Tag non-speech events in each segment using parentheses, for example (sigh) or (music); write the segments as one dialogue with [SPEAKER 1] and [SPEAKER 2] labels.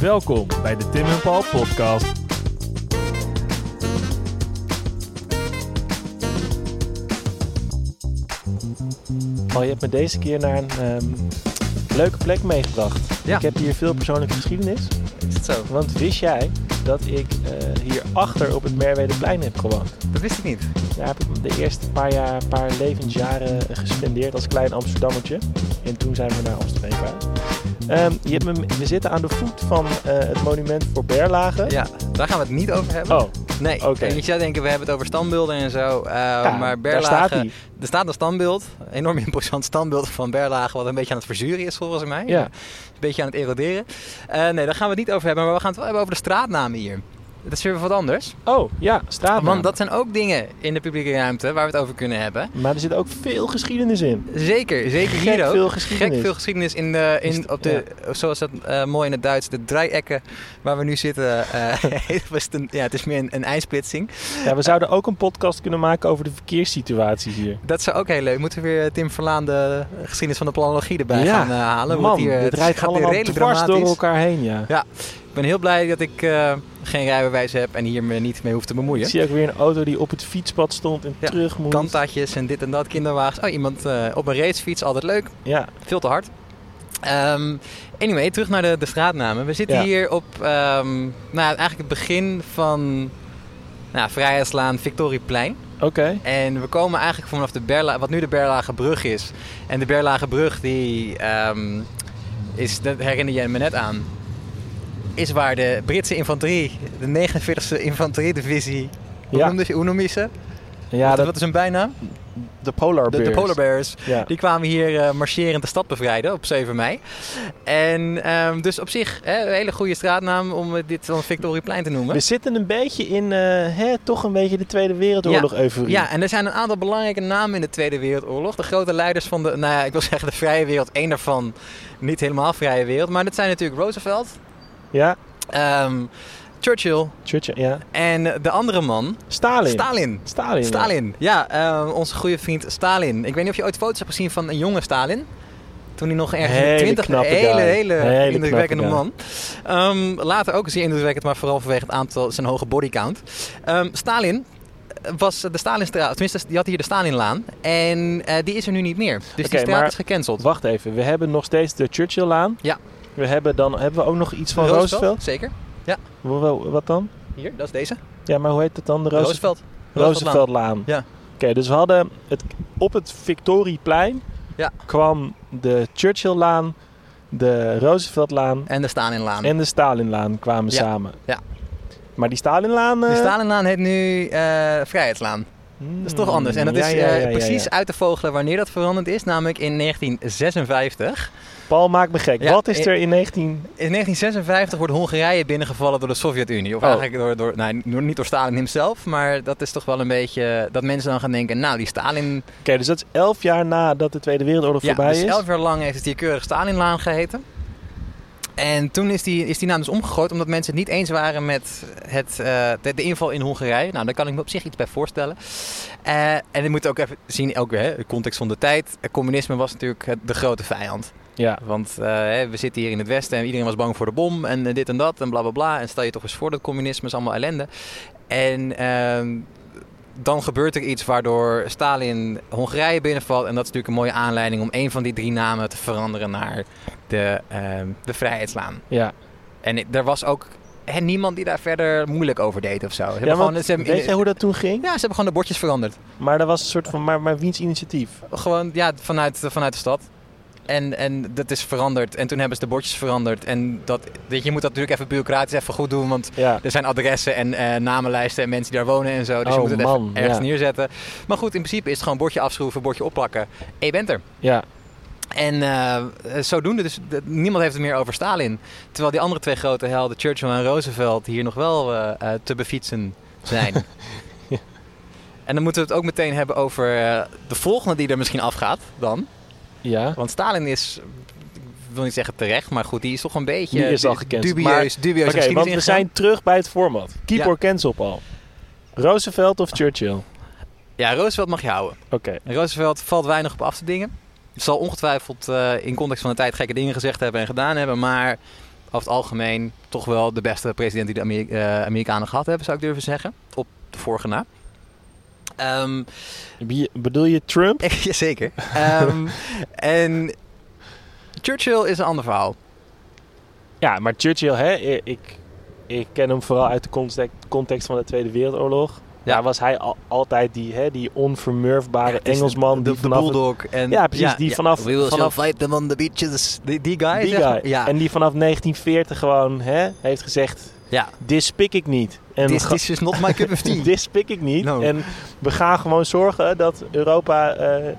[SPEAKER 1] Welkom bij de Tim en Paul podcast. Paul, Oh, je hebt me deze keer naar een ehm, leuke plek meegebracht.
[SPEAKER 2] Ja.
[SPEAKER 1] Ik heb hier veel persoonlijke geschiedenis.
[SPEAKER 2] Is het zo?
[SPEAKER 1] Want wist jij dat ik eh hierachter op het Merwedeplein heb gewoond?
[SPEAKER 2] Dat wist ik niet.
[SPEAKER 1] Daar heb ik de eerste paar, jaar, paar levensjaren gespendeerd als klein Amsterdammertje. En toen zijn we naar Amsterdam verhuisd. Ehm, je hebt me- we zitten aan de voet van eh, het monument voor Berlage.
[SPEAKER 2] Ja, daar gaan we het niet over hebben.
[SPEAKER 1] Oh,
[SPEAKER 2] nee,
[SPEAKER 1] oké.
[SPEAKER 2] ik zou denken, we hebben het over standbeelden en zo. eh,
[SPEAKER 1] ja,
[SPEAKER 2] maar
[SPEAKER 1] daar
[SPEAKER 2] Berlage,
[SPEAKER 1] staat hij.
[SPEAKER 2] er staat een standbeeld, een enorm imposant standbeeld van Berlage, wat een beetje aan het verzuren is volgens mij.
[SPEAKER 1] Ja.
[SPEAKER 2] Een beetje aan het eroderen. Eh, nee, daar gaan we het niet over hebben, maar we gaan het wel hebben over de straatnamen hier. Dat is weer wat anders.
[SPEAKER 1] Oh, ja, straat.
[SPEAKER 2] Want dat zijn ook dingen in de publieke ruimte waar we het over kunnen hebben.
[SPEAKER 1] Maar er zit ook veel geschiedenis in.
[SPEAKER 2] Zeker, zeker
[SPEAKER 1] Gek
[SPEAKER 2] hier ook.
[SPEAKER 1] veel geschiedenis.
[SPEAKER 2] Gek veel geschiedenis in de,
[SPEAKER 1] Is het-
[SPEAKER 2] in, op de, zoals dat eh, mooi in het Duits, de dreiekken waar we nu zitten. eh, (laughs) was het, een, ja, het is meer een, een ijsplitsing.
[SPEAKER 1] Ja, we zouden ook een podcast kunnen maken over de verkeerssituatie hier.
[SPEAKER 2] Dat zou ook heel leuk. Moeten we weer Tim Verlaan de geschiedenis van de planologie erbij
[SPEAKER 1] Ja,
[SPEAKER 2] gaan eh, halen.
[SPEAKER 1] Man,
[SPEAKER 2] want hier,
[SPEAKER 1] dit
[SPEAKER 2] het
[SPEAKER 1] rijdt
[SPEAKER 2] gaat hier
[SPEAKER 1] allemaal dwars
[SPEAKER 2] redelijk dramatisch.
[SPEAKER 1] door elkaar heen, ja.
[SPEAKER 2] Ik ben heel blij dat ik eh, geen rijbewijs heb en hier me niet mee hoef te
[SPEAKER 1] Ik
[SPEAKER 2] bemoeien.
[SPEAKER 1] zie ook weer een auto die op het fietspad stond en
[SPEAKER 2] Ja,
[SPEAKER 1] terug moet.
[SPEAKER 2] Kantaatjes en dit en dat, kinderwagens. Oh, iemand eh, op een racefiets, altijd leuk.
[SPEAKER 1] Ja,
[SPEAKER 2] Veel te hard. Ehm, anyway, terug naar de, de straatnamen. We zitten
[SPEAKER 1] Ja.
[SPEAKER 2] hier op ehm, nou, eigenlijk het begin van nou, Vrijheidslaan, Victorieplein.
[SPEAKER 1] oké.
[SPEAKER 2] En we komen eigenlijk vanaf de Berla, wat nu de Berlagebrug is. En de Berlagebrug, die ehm, is, dat herinner jij me net aan, is waar de Britse infanterie, de 49e infanteriedivisie, hoe,
[SPEAKER 1] Ja.
[SPEAKER 2] noemde je- hoe noem je ze?
[SPEAKER 1] Ja,
[SPEAKER 2] wat,
[SPEAKER 1] dat,
[SPEAKER 2] wat is hun bijnaam?
[SPEAKER 1] de Polar
[SPEAKER 2] De, de Polar Bears.
[SPEAKER 1] Ja.
[SPEAKER 2] Die kwamen hier eh, marcherend de stad bevrijden op 7 mei. En ehm, dus op zich hè, een hele goede straatnaam om eh, dit dan Victorieplein te noemen.
[SPEAKER 1] We zitten een beetje in, eh, hè, toch een beetje de Tweede Wereldoorlog euforie.
[SPEAKER 2] ja, en er zijn een aantal belangrijke namen in de Tweede Wereldoorlog. De grote leiders van de, nou ja, ik wil zeggen de vrije wereld. Eén daarvan, niet helemaal vrije wereld. Maar dat zijn natuurlijk Roosevelt,
[SPEAKER 1] ja,
[SPEAKER 2] ehm, Churchill
[SPEAKER 1] Churchill, ja.
[SPEAKER 2] en de andere man,
[SPEAKER 1] Stalin.
[SPEAKER 2] Stalin.
[SPEAKER 1] Stalin. ja.
[SPEAKER 2] Stalin, ja, ehm, onze goede vriend Stalin. Ik weet niet of je ooit foto's hebt gezien van een jonge Stalin. Toen hij nog ergens
[SPEAKER 1] Hele
[SPEAKER 2] in de twintig...
[SPEAKER 1] knappe
[SPEAKER 2] hele,
[SPEAKER 1] guy.
[SPEAKER 2] hele,
[SPEAKER 1] Hele
[SPEAKER 2] indrukwekkende
[SPEAKER 1] knappe
[SPEAKER 2] man. Ehm, later ook zeer indrukwekkend, maar vooral vanwege het aantal, zijn hoge bodycount. Ehm, Stalin was de Stalinstraat, tenminste, die had hier de Stalinlaan. En eh, die is er nu niet meer. Dus
[SPEAKER 1] Oké,
[SPEAKER 2] die straat
[SPEAKER 1] maar-
[SPEAKER 2] is gecanceld.
[SPEAKER 1] Wacht even, we hebben nog steeds de Churchill-laan.
[SPEAKER 2] Ja.
[SPEAKER 1] We hebben dan, hebben we ook nog iets van Roosevelt?
[SPEAKER 2] Zeker.
[SPEAKER 1] Wo- wo- Wat dan?
[SPEAKER 2] Hier, dat is deze.
[SPEAKER 1] Ja, maar hoe heet dat dan? De Roosevelt?
[SPEAKER 2] Roosevelt. Rooseveltlaan.
[SPEAKER 1] Rooseveltlaan.
[SPEAKER 2] Ja.
[SPEAKER 1] Oké, dus we hadden het, op het Victorieplein
[SPEAKER 2] Ja.
[SPEAKER 1] kwam de Churchill-laan, de Rooseveltlaan
[SPEAKER 2] En de Stalinlaan.
[SPEAKER 1] en de Stalinlaan kwamen
[SPEAKER 2] Ja.
[SPEAKER 1] samen.
[SPEAKER 2] Ja.
[SPEAKER 1] Maar die Stalinlaan... eh,
[SPEAKER 2] De Stalinlaan heet nu eh, Vrijheidslaan.
[SPEAKER 1] hmm,
[SPEAKER 2] Dat is toch anders. En dat
[SPEAKER 1] ja,
[SPEAKER 2] is
[SPEAKER 1] ja,
[SPEAKER 2] eh,
[SPEAKER 1] ja, ja,
[SPEAKER 2] precies
[SPEAKER 1] ja.
[SPEAKER 2] uit te vogelen wanneer dat veranderd is, namelijk in 1956.
[SPEAKER 1] Paul maakt me gek.
[SPEAKER 2] Ja,
[SPEAKER 1] Wat is
[SPEAKER 2] eh,
[SPEAKER 1] er in 19...
[SPEAKER 2] In 1956 wordt Hongarije binnengevallen door de Sovjet-Unie. Of
[SPEAKER 1] Oh.
[SPEAKER 2] eigenlijk door, door, nou, door- niet door Stalin hemzelf, maar dat is toch wel een beetje dat mensen dan gaan denken, nou die Stalin...
[SPEAKER 1] Oké, dus dat is elf jaar nadat de Tweede Wereldoorlog
[SPEAKER 2] Ja,
[SPEAKER 1] voorbij
[SPEAKER 2] dus
[SPEAKER 1] is.
[SPEAKER 2] elf jaar lang heeft het hier keurig Stalinlaan geheten. En toen is die, is die naam dus omgegooid omdat mensen het niet eens waren met het, eh, de, de inval in Hongarije. Nou, daar kan ik me op zich iets bij voorstellen. Eh, en je moet ook even zien, ook, weer, hè, de context van de tijd. Communisme was natuurlijk het- de grote vijand.
[SPEAKER 1] Ja,
[SPEAKER 2] Want eh, hè, we zitten hier in het Westen en iedereen was bang voor de bom en eh, dit en dat en bla bla bla. En stel je toch eens voor dat communisme is allemaal ellende. En ehm, dan gebeurt er iets waardoor Stalin Hongarije binnenvalt. En dat is natuurlijk een mooie aanleiding om een van die drie namen te veranderen naar de, ehm, de Vrijheidslaan.
[SPEAKER 1] ja.
[SPEAKER 2] En ik- er was ook hè, niemand die daar verder moeilijk over deed of zo. Ze hebben
[SPEAKER 1] ja
[SPEAKER 2] gewoon,
[SPEAKER 1] want,
[SPEAKER 2] ze hebben-
[SPEAKER 1] weet jij hoe dat toen ging?
[SPEAKER 2] ja, ze hebben gewoon de bordjes veranderd.
[SPEAKER 1] Maar dat was een soort van... Maar, maar wiens initiatief?
[SPEAKER 2] Gewoon, ja, vanuit, vanuit de stad. En, en dat is veranderd. En toen hebben ze de bordjes veranderd. En dat, weet je, je moet dat natuurlijk even bureaucratisch even goed doen. Want
[SPEAKER 1] Ja.
[SPEAKER 2] er zijn adressen en eh, namenlijsten en mensen die daar wonen en zo. Dus
[SPEAKER 1] Oh,
[SPEAKER 2] je moet het
[SPEAKER 1] man,
[SPEAKER 2] even ergens
[SPEAKER 1] ja.
[SPEAKER 2] neerzetten. Maar goed, in principe is het gewoon bordje afschroeven, bordje opplakken. En je bent er.
[SPEAKER 1] Ja.
[SPEAKER 2] En eh, zodoende, dus de- niemand heeft het meer over Stalin. Terwijl die andere twee grote helden, Churchill en Roosevelt, hier nog wel eh, eh, te befietsen zijn.
[SPEAKER 1] (laughs) Ja.
[SPEAKER 2] En dan moeten we het ook meteen hebben over eh, de volgende die er misschien afgaat dan.
[SPEAKER 1] Ja.
[SPEAKER 2] Want Stalin is, ik wil niet zeggen terecht, maar goed, die is toch een beetje
[SPEAKER 1] Die is al
[SPEAKER 2] du-
[SPEAKER 1] gecanceld,
[SPEAKER 2] dubieus, dubieus
[SPEAKER 1] Oké,
[SPEAKER 2] geschiedenis
[SPEAKER 1] want we
[SPEAKER 2] ingegaan.
[SPEAKER 1] zijn terug bij het format. Keep
[SPEAKER 2] Ja.
[SPEAKER 1] or cancel, Paul. Roosevelt of Churchill? Oké.
[SPEAKER 2] Ja, Roosevelt mag je houden. En Roosevelt valt weinig op af te dingen. Zal ongetwijfeld eh, in context van de tijd gekke dingen gezegd hebben en gedaan hebben, maar over het algemeen toch wel de beste president die de Ameri- eh, Amerikanen gehad hebben, zou ik durven zeggen. Op de vorige na. Ehm, (laughs)
[SPEAKER 1] Be- Bedoel je Trump?
[SPEAKER 2] Jazeker.
[SPEAKER 1] (laughs)
[SPEAKER 2] Ehm, en Churchill is een ander verhaal.
[SPEAKER 1] Ja, maar Churchill, hè, i- ik, ik ken hem vooral uit de context, context van de Tweede Wereldoorlog.
[SPEAKER 2] Ja.
[SPEAKER 1] Ja, was hij al- altijd die, hè, die onvermurfbare
[SPEAKER 2] Het is
[SPEAKER 1] Engelsman
[SPEAKER 2] de,
[SPEAKER 1] die
[SPEAKER 2] de
[SPEAKER 1] vanaf het-
[SPEAKER 2] bulldog en
[SPEAKER 1] Ja, precies, die vanaf-
[SPEAKER 2] We will shall
[SPEAKER 1] vanaf-
[SPEAKER 2] fight them on the beaches. Die, die guy.
[SPEAKER 1] die
[SPEAKER 2] zeg
[SPEAKER 1] guy.
[SPEAKER 2] maar. Ja,
[SPEAKER 1] En die vanaf 1940 gewoon hè, heeft gezegd:
[SPEAKER 2] ja.
[SPEAKER 1] Dit pik ik niet. En
[SPEAKER 2] This,
[SPEAKER 1] we
[SPEAKER 2] this is not my cup of
[SPEAKER 1] ga- (laughs)
[SPEAKER 2] tea.
[SPEAKER 1] Dit pik ik niet.
[SPEAKER 2] No.
[SPEAKER 1] En we gaan gewoon zorgen dat Europa eh,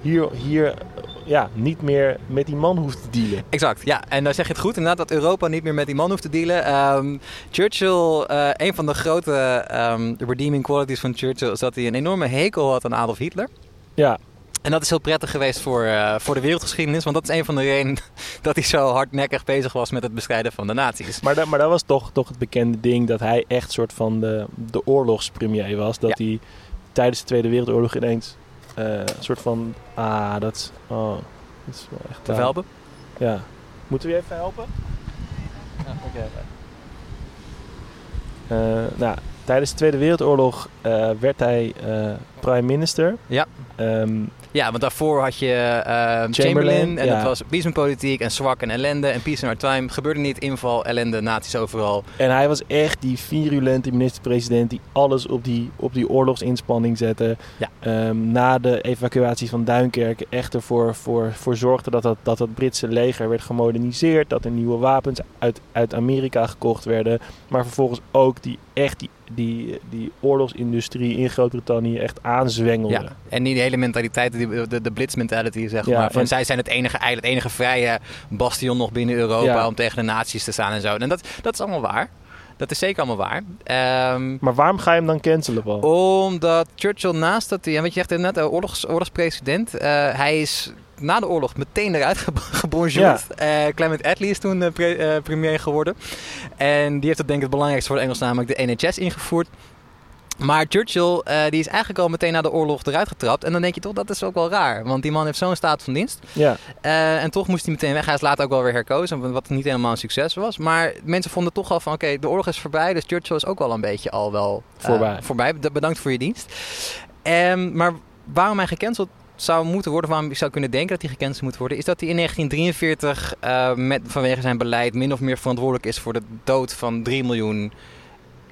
[SPEAKER 1] hier, hier eh, ja, niet meer met die man hoeft te dealen.
[SPEAKER 2] Exact, ja. En daar zeg je het goed, inderdaad, dat Europa niet meer met die man hoeft te dealen. Ehm, Churchill, eh, een van de grote ehm, redeeming qualities van Churchill... is dat hij een enorme hekel had aan Adolf Hitler.
[SPEAKER 1] Ja,
[SPEAKER 2] En dat is heel prettig geweest voor, eh, voor de wereldgeschiedenis... want dat is een van de redenen (laughs) dat hij zo hardnekkig bezig was... met het bestrijden van de nazi's.
[SPEAKER 1] maar dat, maar dat was toch, toch het bekende ding dat hij echt soort van de, de oorlogspremier was. Dat hij tijdens de Tweede Wereldoorlog ineens eh, een soort van: Ah, dat is, oh, dat is wel echt.
[SPEAKER 2] Te
[SPEAKER 1] eh,
[SPEAKER 2] helpen?
[SPEAKER 1] Ja. Moeten we je even helpen? Oké. nou, tijdens de Tweede Wereldoorlog eh, werd hij eh prime minister.
[SPEAKER 2] Ja.
[SPEAKER 1] Ehm,
[SPEAKER 2] Ja, want daarvoor had je eh, Chamberlain,
[SPEAKER 1] Chamberlain,
[SPEAKER 2] en
[SPEAKER 1] ja.
[SPEAKER 2] dat was biesmpolitiek en zwak en ellende en peace in our time. Gebeurde niet, inval, ellende, nazi's overal.
[SPEAKER 1] en hij was echt die virulente minister-president die alles op die, op die oorlogsinspanning zette.
[SPEAKER 2] Ja.
[SPEAKER 1] Ehm, na de evacuatie van Duinkerk echt ervoor voor, voor zorgde dat dat, dat het Britse leger werd gemoderniseerd. Dat er nieuwe wapens uit, uit Amerika gekocht werden. Maar vervolgens ook die, echt die, die, die oorlogsindustrie in Groot-Brittannië echt aanzwengelde.
[SPEAKER 2] Ja, en die hele mentaliteit, die, de, de blitz mentality zeg
[SPEAKER 1] Ja,
[SPEAKER 2] maar. Van
[SPEAKER 1] en-
[SPEAKER 2] zij zijn het enige, eigenlijk het enige vrije bastion nog binnen Europa
[SPEAKER 1] Ja.
[SPEAKER 2] om tegen de nazi's te staan en zo. En dat, dat is allemaal waar. Dat is zeker allemaal waar. Ehm,
[SPEAKER 1] Maar waarom ga je hem dan cancelen, Paul?
[SPEAKER 2] Oh. omdat Churchill naast dat hij, en wat je zegt inderdaad, eh, oorlogs, oorlogspresident, eh, hij is na de oorlog meteen eruit ge- (laughs) gebonjourd. Eh, Clement Attlee is toen eh, pre- eh, premier geworden. En die heeft dat denk ik het belangrijkste voor de Engels namelijk de NHS ingevoerd. Maar Churchill, eh, die is eigenlijk al meteen na de oorlog eruit getrapt. En dan denk je toch, dat is ook wel raar. Want die man heeft zo'n staat van dienst.
[SPEAKER 1] Ja.
[SPEAKER 2] Eh, en toch moest hij meteen weg. Hij is later ook wel weer herkozen, wat niet helemaal een succes was. Maar mensen vonden toch al van, oké, de oorlog is voorbij. Dus Churchill is ook al een beetje al wel eh,
[SPEAKER 1] Voorbij.
[SPEAKER 2] voorbij. D- Bedankt voor je dienst. Ehm, maar waarom hij gecanceld zou moeten worden, waarom ik zou kunnen denken dat hij gecanceld moet worden, is dat hij in 1943 eh, met, vanwege zijn beleid min of meer verantwoordelijk is voor de dood van 3 miljoen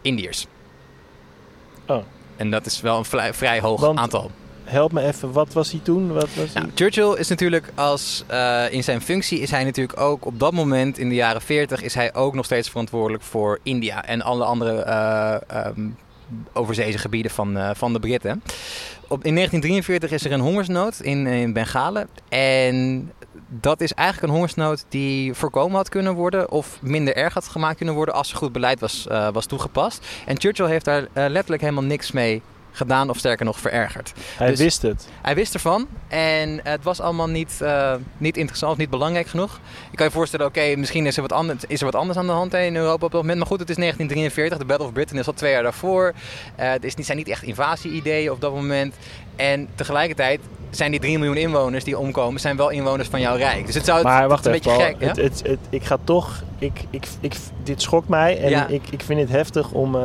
[SPEAKER 2] Indiërs.
[SPEAKER 1] Oh.
[SPEAKER 2] En dat is wel een vrij, vrij hoog
[SPEAKER 1] Want-
[SPEAKER 2] aantal.
[SPEAKER 1] Help me even, wat was hij toen? Wat was hij?
[SPEAKER 2] Nou, Churchill is natuurlijk als eh, in zijn functie is hij natuurlijk ook op dat moment in de jaren 40 is hij ook nog steeds verantwoordelijk voor India en alle andere eh ehm overzeese gebieden van, eh, van de Britten. Op, in 1943 is er een hongersnood in, in Bengalen en dat is eigenlijk een hongersnood die voorkomen had kunnen worden of minder erg had gemaakt kunnen worden als er goed beleid was, eh, was toegepast. En Churchill heeft daar eh, letterlijk helemaal niks mee gedaan of sterker nog verergerd.
[SPEAKER 1] hij
[SPEAKER 2] dus-
[SPEAKER 1] wist het.
[SPEAKER 2] Hij wist ervan en het was allemaal niet, eh, niet interessant, niet belangrijk genoeg. Ik kan je voorstellen, oké, misschien is er, wat anders, is er wat anders aan de hand in Europa op dat moment. Maar goed, het is 1943, de Battle of Britain is al twee jaar daarvoor. Eh, het is, niet- zijn niet echt invasie-ideeën op dat moment. En tegelijkertijd zijn die 3 miljoen inwoners die omkomen, zijn wel inwoners van jouw rijk. Dus het zou
[SPEAKER 1] Maar
[SPEAKER 2] het
[SPEAKER 1] wacht
[SPEAKER 2] is een
[SPEAKER 1] even, Paul.
[SPEAKER 2] beetje gek, hè?
[SPEAKER 1] het, het, het- ik ga toch... Ik, ik, ik, dit schokt mij en
[SPEAKER 2] Ja.
[SPEAKER 1] ik, ik vind het heftig om... eh,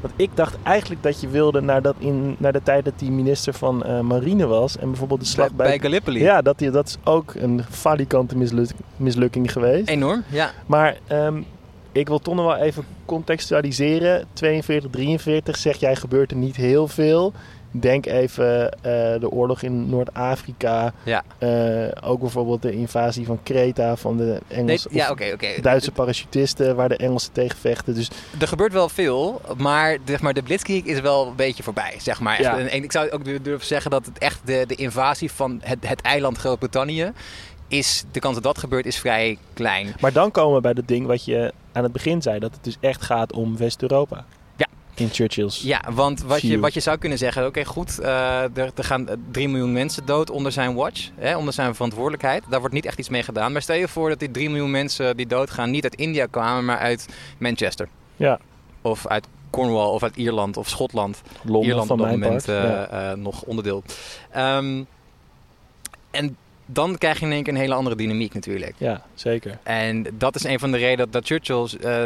[SPEAKER 1] want ik dacht eigenlijk dat je wilde naar, dat in, naar de tijd dat hij minister van eh, Marine was. En bijvoorbeeld de slag bij...
[SPEAKER 2] bij Gallipoli.
[SPEAKER 1] ja, dat, die- dat is ook een falikante misluk- mislukking geweest.
[SPEAKER 2] Enorm, ja.
[SPEAKER 1] Maar ehm, ik wil toch nog wel even contextualiseren. 42, 43 zeg jij gebeurt er niet heel veel. Denk even eh, de oorlog in Noord-Afrika.
[SPEAKER 2] Ja.
[SPEAKER 1] Eh, ook bijvoorbeeld de invasie van Kreta van de
[SPEAKER 2] Nee,
[SPEAKER 1] Engelse,
[SPEAKER 2] ja,
[SPEAKER 1] of
[SPEAKER 2] oké, oké.
[SPEAKER 1] Duitse parachutisten waar de Engelsen tegen vechten. Dus
[SPEAKER 2] Er gebeurt wel veel, maar, zeg maar de Blitzkrieg is wel een beetje voorbij, zeg maar. Echt.
[SPEAKER 1] Ja.
[SPEAKER 2] En, en ik zou ook dur- durven zeggen dat het echt de, de invasie van het, het eiland Groot-Brittannië is, de kans dat dat gebeurt, is vrij klein.
[SPEAKER 1] Maar dan komen we bij dat ding wat je aan het begin zei. Dat het dus echt gaat om West-Europa.
[SPEAKER 2] Ja.
[SPEAKER 1] In Churchill's.
[SPEAKER 2] Ja, want wat je,
[SPEAKER 1] View.
[SPEAKER 2] wat je zou kunnen zeggen, oké goed, eh, er, er gaan eh, 3 miljoen mensen dood onder zijn watch, hè, onder zijn verantwoordelijkheid. Daar wordt niet echt iets mee gedaan. Maar stel je voor dat die 3 miljoen mensen die doodgaan niet uit India kwamen, maar uit Manchester.
[SPEAKER 1] Ja.
[SPEAKER 2] Of uit Cornwall, of uit Ierland, of Schotland.
[SPEAKER 1] Londen
[SPEAKER 2] Ierland
[SPEAKER 1] van
[SPEAKER 2] op dat eh,
[SPEAKER 1] mijn
[SPEAKER 2] moment
[SPEAKER 1] part.
[SPEAKER 2] eh,
[SPEAKER 1] Ja.
[SPEAKER 2] eh, nog onderdeel. Ehm, en dan krijg je in één keer een hele andere dynamiek natuurlijk.
[SPEAKER 1] Ja,
[SPEAKER 2] eh,
[SPEAKER 1] zeker.
[SPEAKER 2] En dat is een van de redenen dat, dat Churchill eh,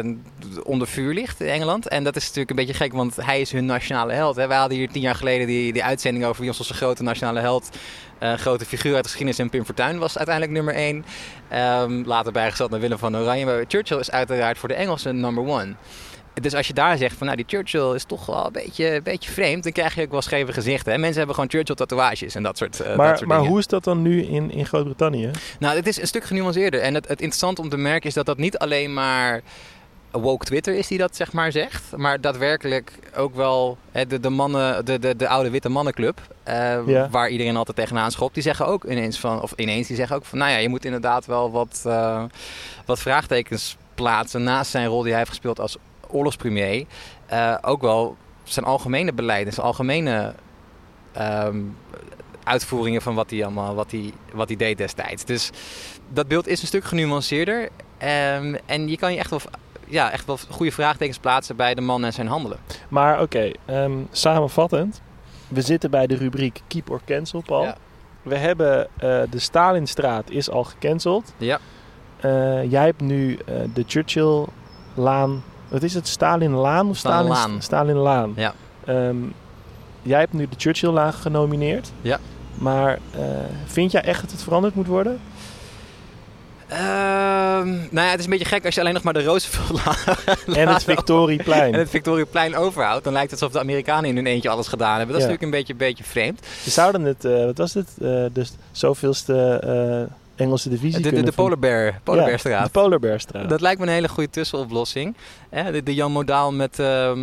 [SPEAKER 2] onder vuur ligt in Engeland. En dat is natuurlijk een beetje gek, want hij is hun nationale held. Hè. We hadden hier tien jaar geleden die, die uitzending over wie ons onze grote nationale held... eh, grote figuur uit de geschiedenis en Pim Fortuyn was uiteindelijk nummer één. Ehm, later bijgezet naar Willem van Oranje. Maar Churchill is uiteraard voor de Engelsen number one. Dus als je daar zegt van nou die Churchill is toch wel een beetje, een beetje vreemd, dan krijg je ook wel scheve gezichten. En mensen hebben gewoon Churchill tatoeages en dat soort, eh, dat
[SPEAKER 1] maar
[SPEAKER 2] soort
[SPEAKER 1] maar
[SPEAKER 2] dingen.
[SPEAKER 1] hoe is dat dan nu in, in Groot-Brittannië?
[SPEAKER 2] Nou, het is een stuk genuanceerder. En het, het interessante om te merken is dat dat niet alleen maar woke Twitter is die dat zeg maar zegt. Maar daadwerkelijk ook wel hè, de, de, mannen, de, de, de oude witte mannenclub. eh,
[SPEAKER 1] Ja.
[SPEAKER 2] Waar iedereen altijd tegenaan schopt. Die zeggen ook ineens van, of ineens, die zeggen ook van... Nou ja, je moet inderdaad wel wat, eh, wat vraagtekens plaatsen naast zijn rol die hij heeft gespeeld als oorlogspremier. eh, ook wel zijn algemene beleid en zijn algemene ehm, uitvoeringen van wat hij allemaal wat hij, wat hij deed destijds. Dus dat beeld is een stuk genuanceerder. ehm, en je kan je echt wel, ja, echt wel goede vraagtekens plaatsen bij de man en zijn handelen.
[SPEAKER 1] Maar oké, ehm, samenvattend. We zitten bij de rubriek Keep or Cancel, Paul.
[SPEAKER 2] Ja.
[SPEAKER 1] We hebben eh, de Stalinstraat is al gecanceld.
[SPEAKER 2] Ja.
[SPEAKER 1] Eh, jij hebt nu eh, de Churchill-laan. Wat is het? Stalin-laan of
[SPEAKER 2] Stalinlaan.
[SPEAKER 1] Stalin- Stalin-laan?
[SPEAKER 2] Ja.
[SPEAKER 1] Ehm, jij hebt nu de Churchill-laan genomineerd.
[SPEAKER 2] Ja.
[SPEAKER 1] Maar eh, vind jij echt dat het veranderd moet
[SPEAKER 2] (laughs)
[SPEAKER 1] worden?
[SPEAKER 2] Ehm, nou ja, het is een beetje gek als je alleen nog maar de (laughs) Roosevelt
[SPEAKER 1] En het Victorieplein.
[SPEAKER 2] en het Victoriaplein overhoudt. Dan lijkt het alsof de Amerikanen in hun eentje alles gedaan hebben. Dat is
[SPEAKER 1] Ja.
[SPEAKER 2] natuurlijk een beetje, beetje vreemd.
[SPEAKER 1] Ze zouden het, eh, wat was het? Eh, dus zoveelste eh, Engelse divisie
[SPEAKER 2] De, de,
[SPEAKER 1] kunnen
[SPEAKER 2] de
[SPEAKER 1] verm-
[SPEAKER 2] Polar Bear, Polar
[SPEAKER 1] Ja,
[SPEAKER 2] Bearstraat.
[SPEAKER 1] De Polar Bearstraat.
[SPEAKER 2] Dat lijkt me een hele goede tussenoplossing. Hè, de, de Jan Modaal met, ehm,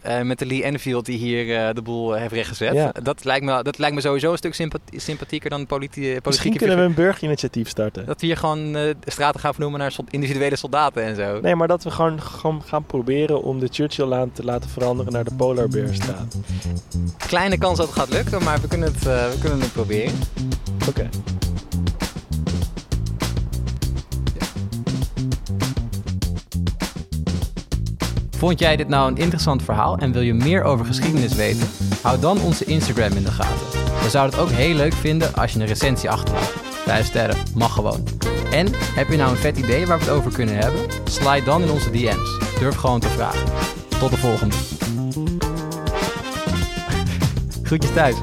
[SPEAKER 2] eh, met de Lee Enfield die hier eh, de boel heeft rechtgezet.
[SPEAKER 1] Ja.
[SPEAKER 2] Dat, lijkt me, dat lijkt me sowieso een stuk sympathie- sympathieker dan politie, politieke
[SPEAKER 1] Misschien kunnen we
[SPEAKER 2] figuur.
[SPEAKER 1] een burgerinitiatief starten.
[SPEAKER 2] Dat we hier gewoon eh, straten gaan vernoemen naar sol- individuele soldaten en zo.
[SPEAKER 1] Nee, maar dat we gewoon, gewoon gaan proberen om de Churchill-laan te laten veranderen naar de Polar Bearstraat.
[SPEAKER 2] Kleine kans dat het gaat lukken, maar we kunnen het, eh, we kunnen het proberen.
[SPEAKER 1] Oké.
[SPEAKER 2] Vond jij dit nou een interessant verhaal en wil je meer over geschiedenis weten? Hou dan onze Instagram in de gaten. We zouden het ook heel leuk vinden als je een recensie achterlaat. Vijf sterren, mag gewoon. En heb je nou een vet idee waar we het over kunnen hebben? Slide dan in onze DM's. Durf gewoon te vragen. Tot de volgende. Groetjes thuis.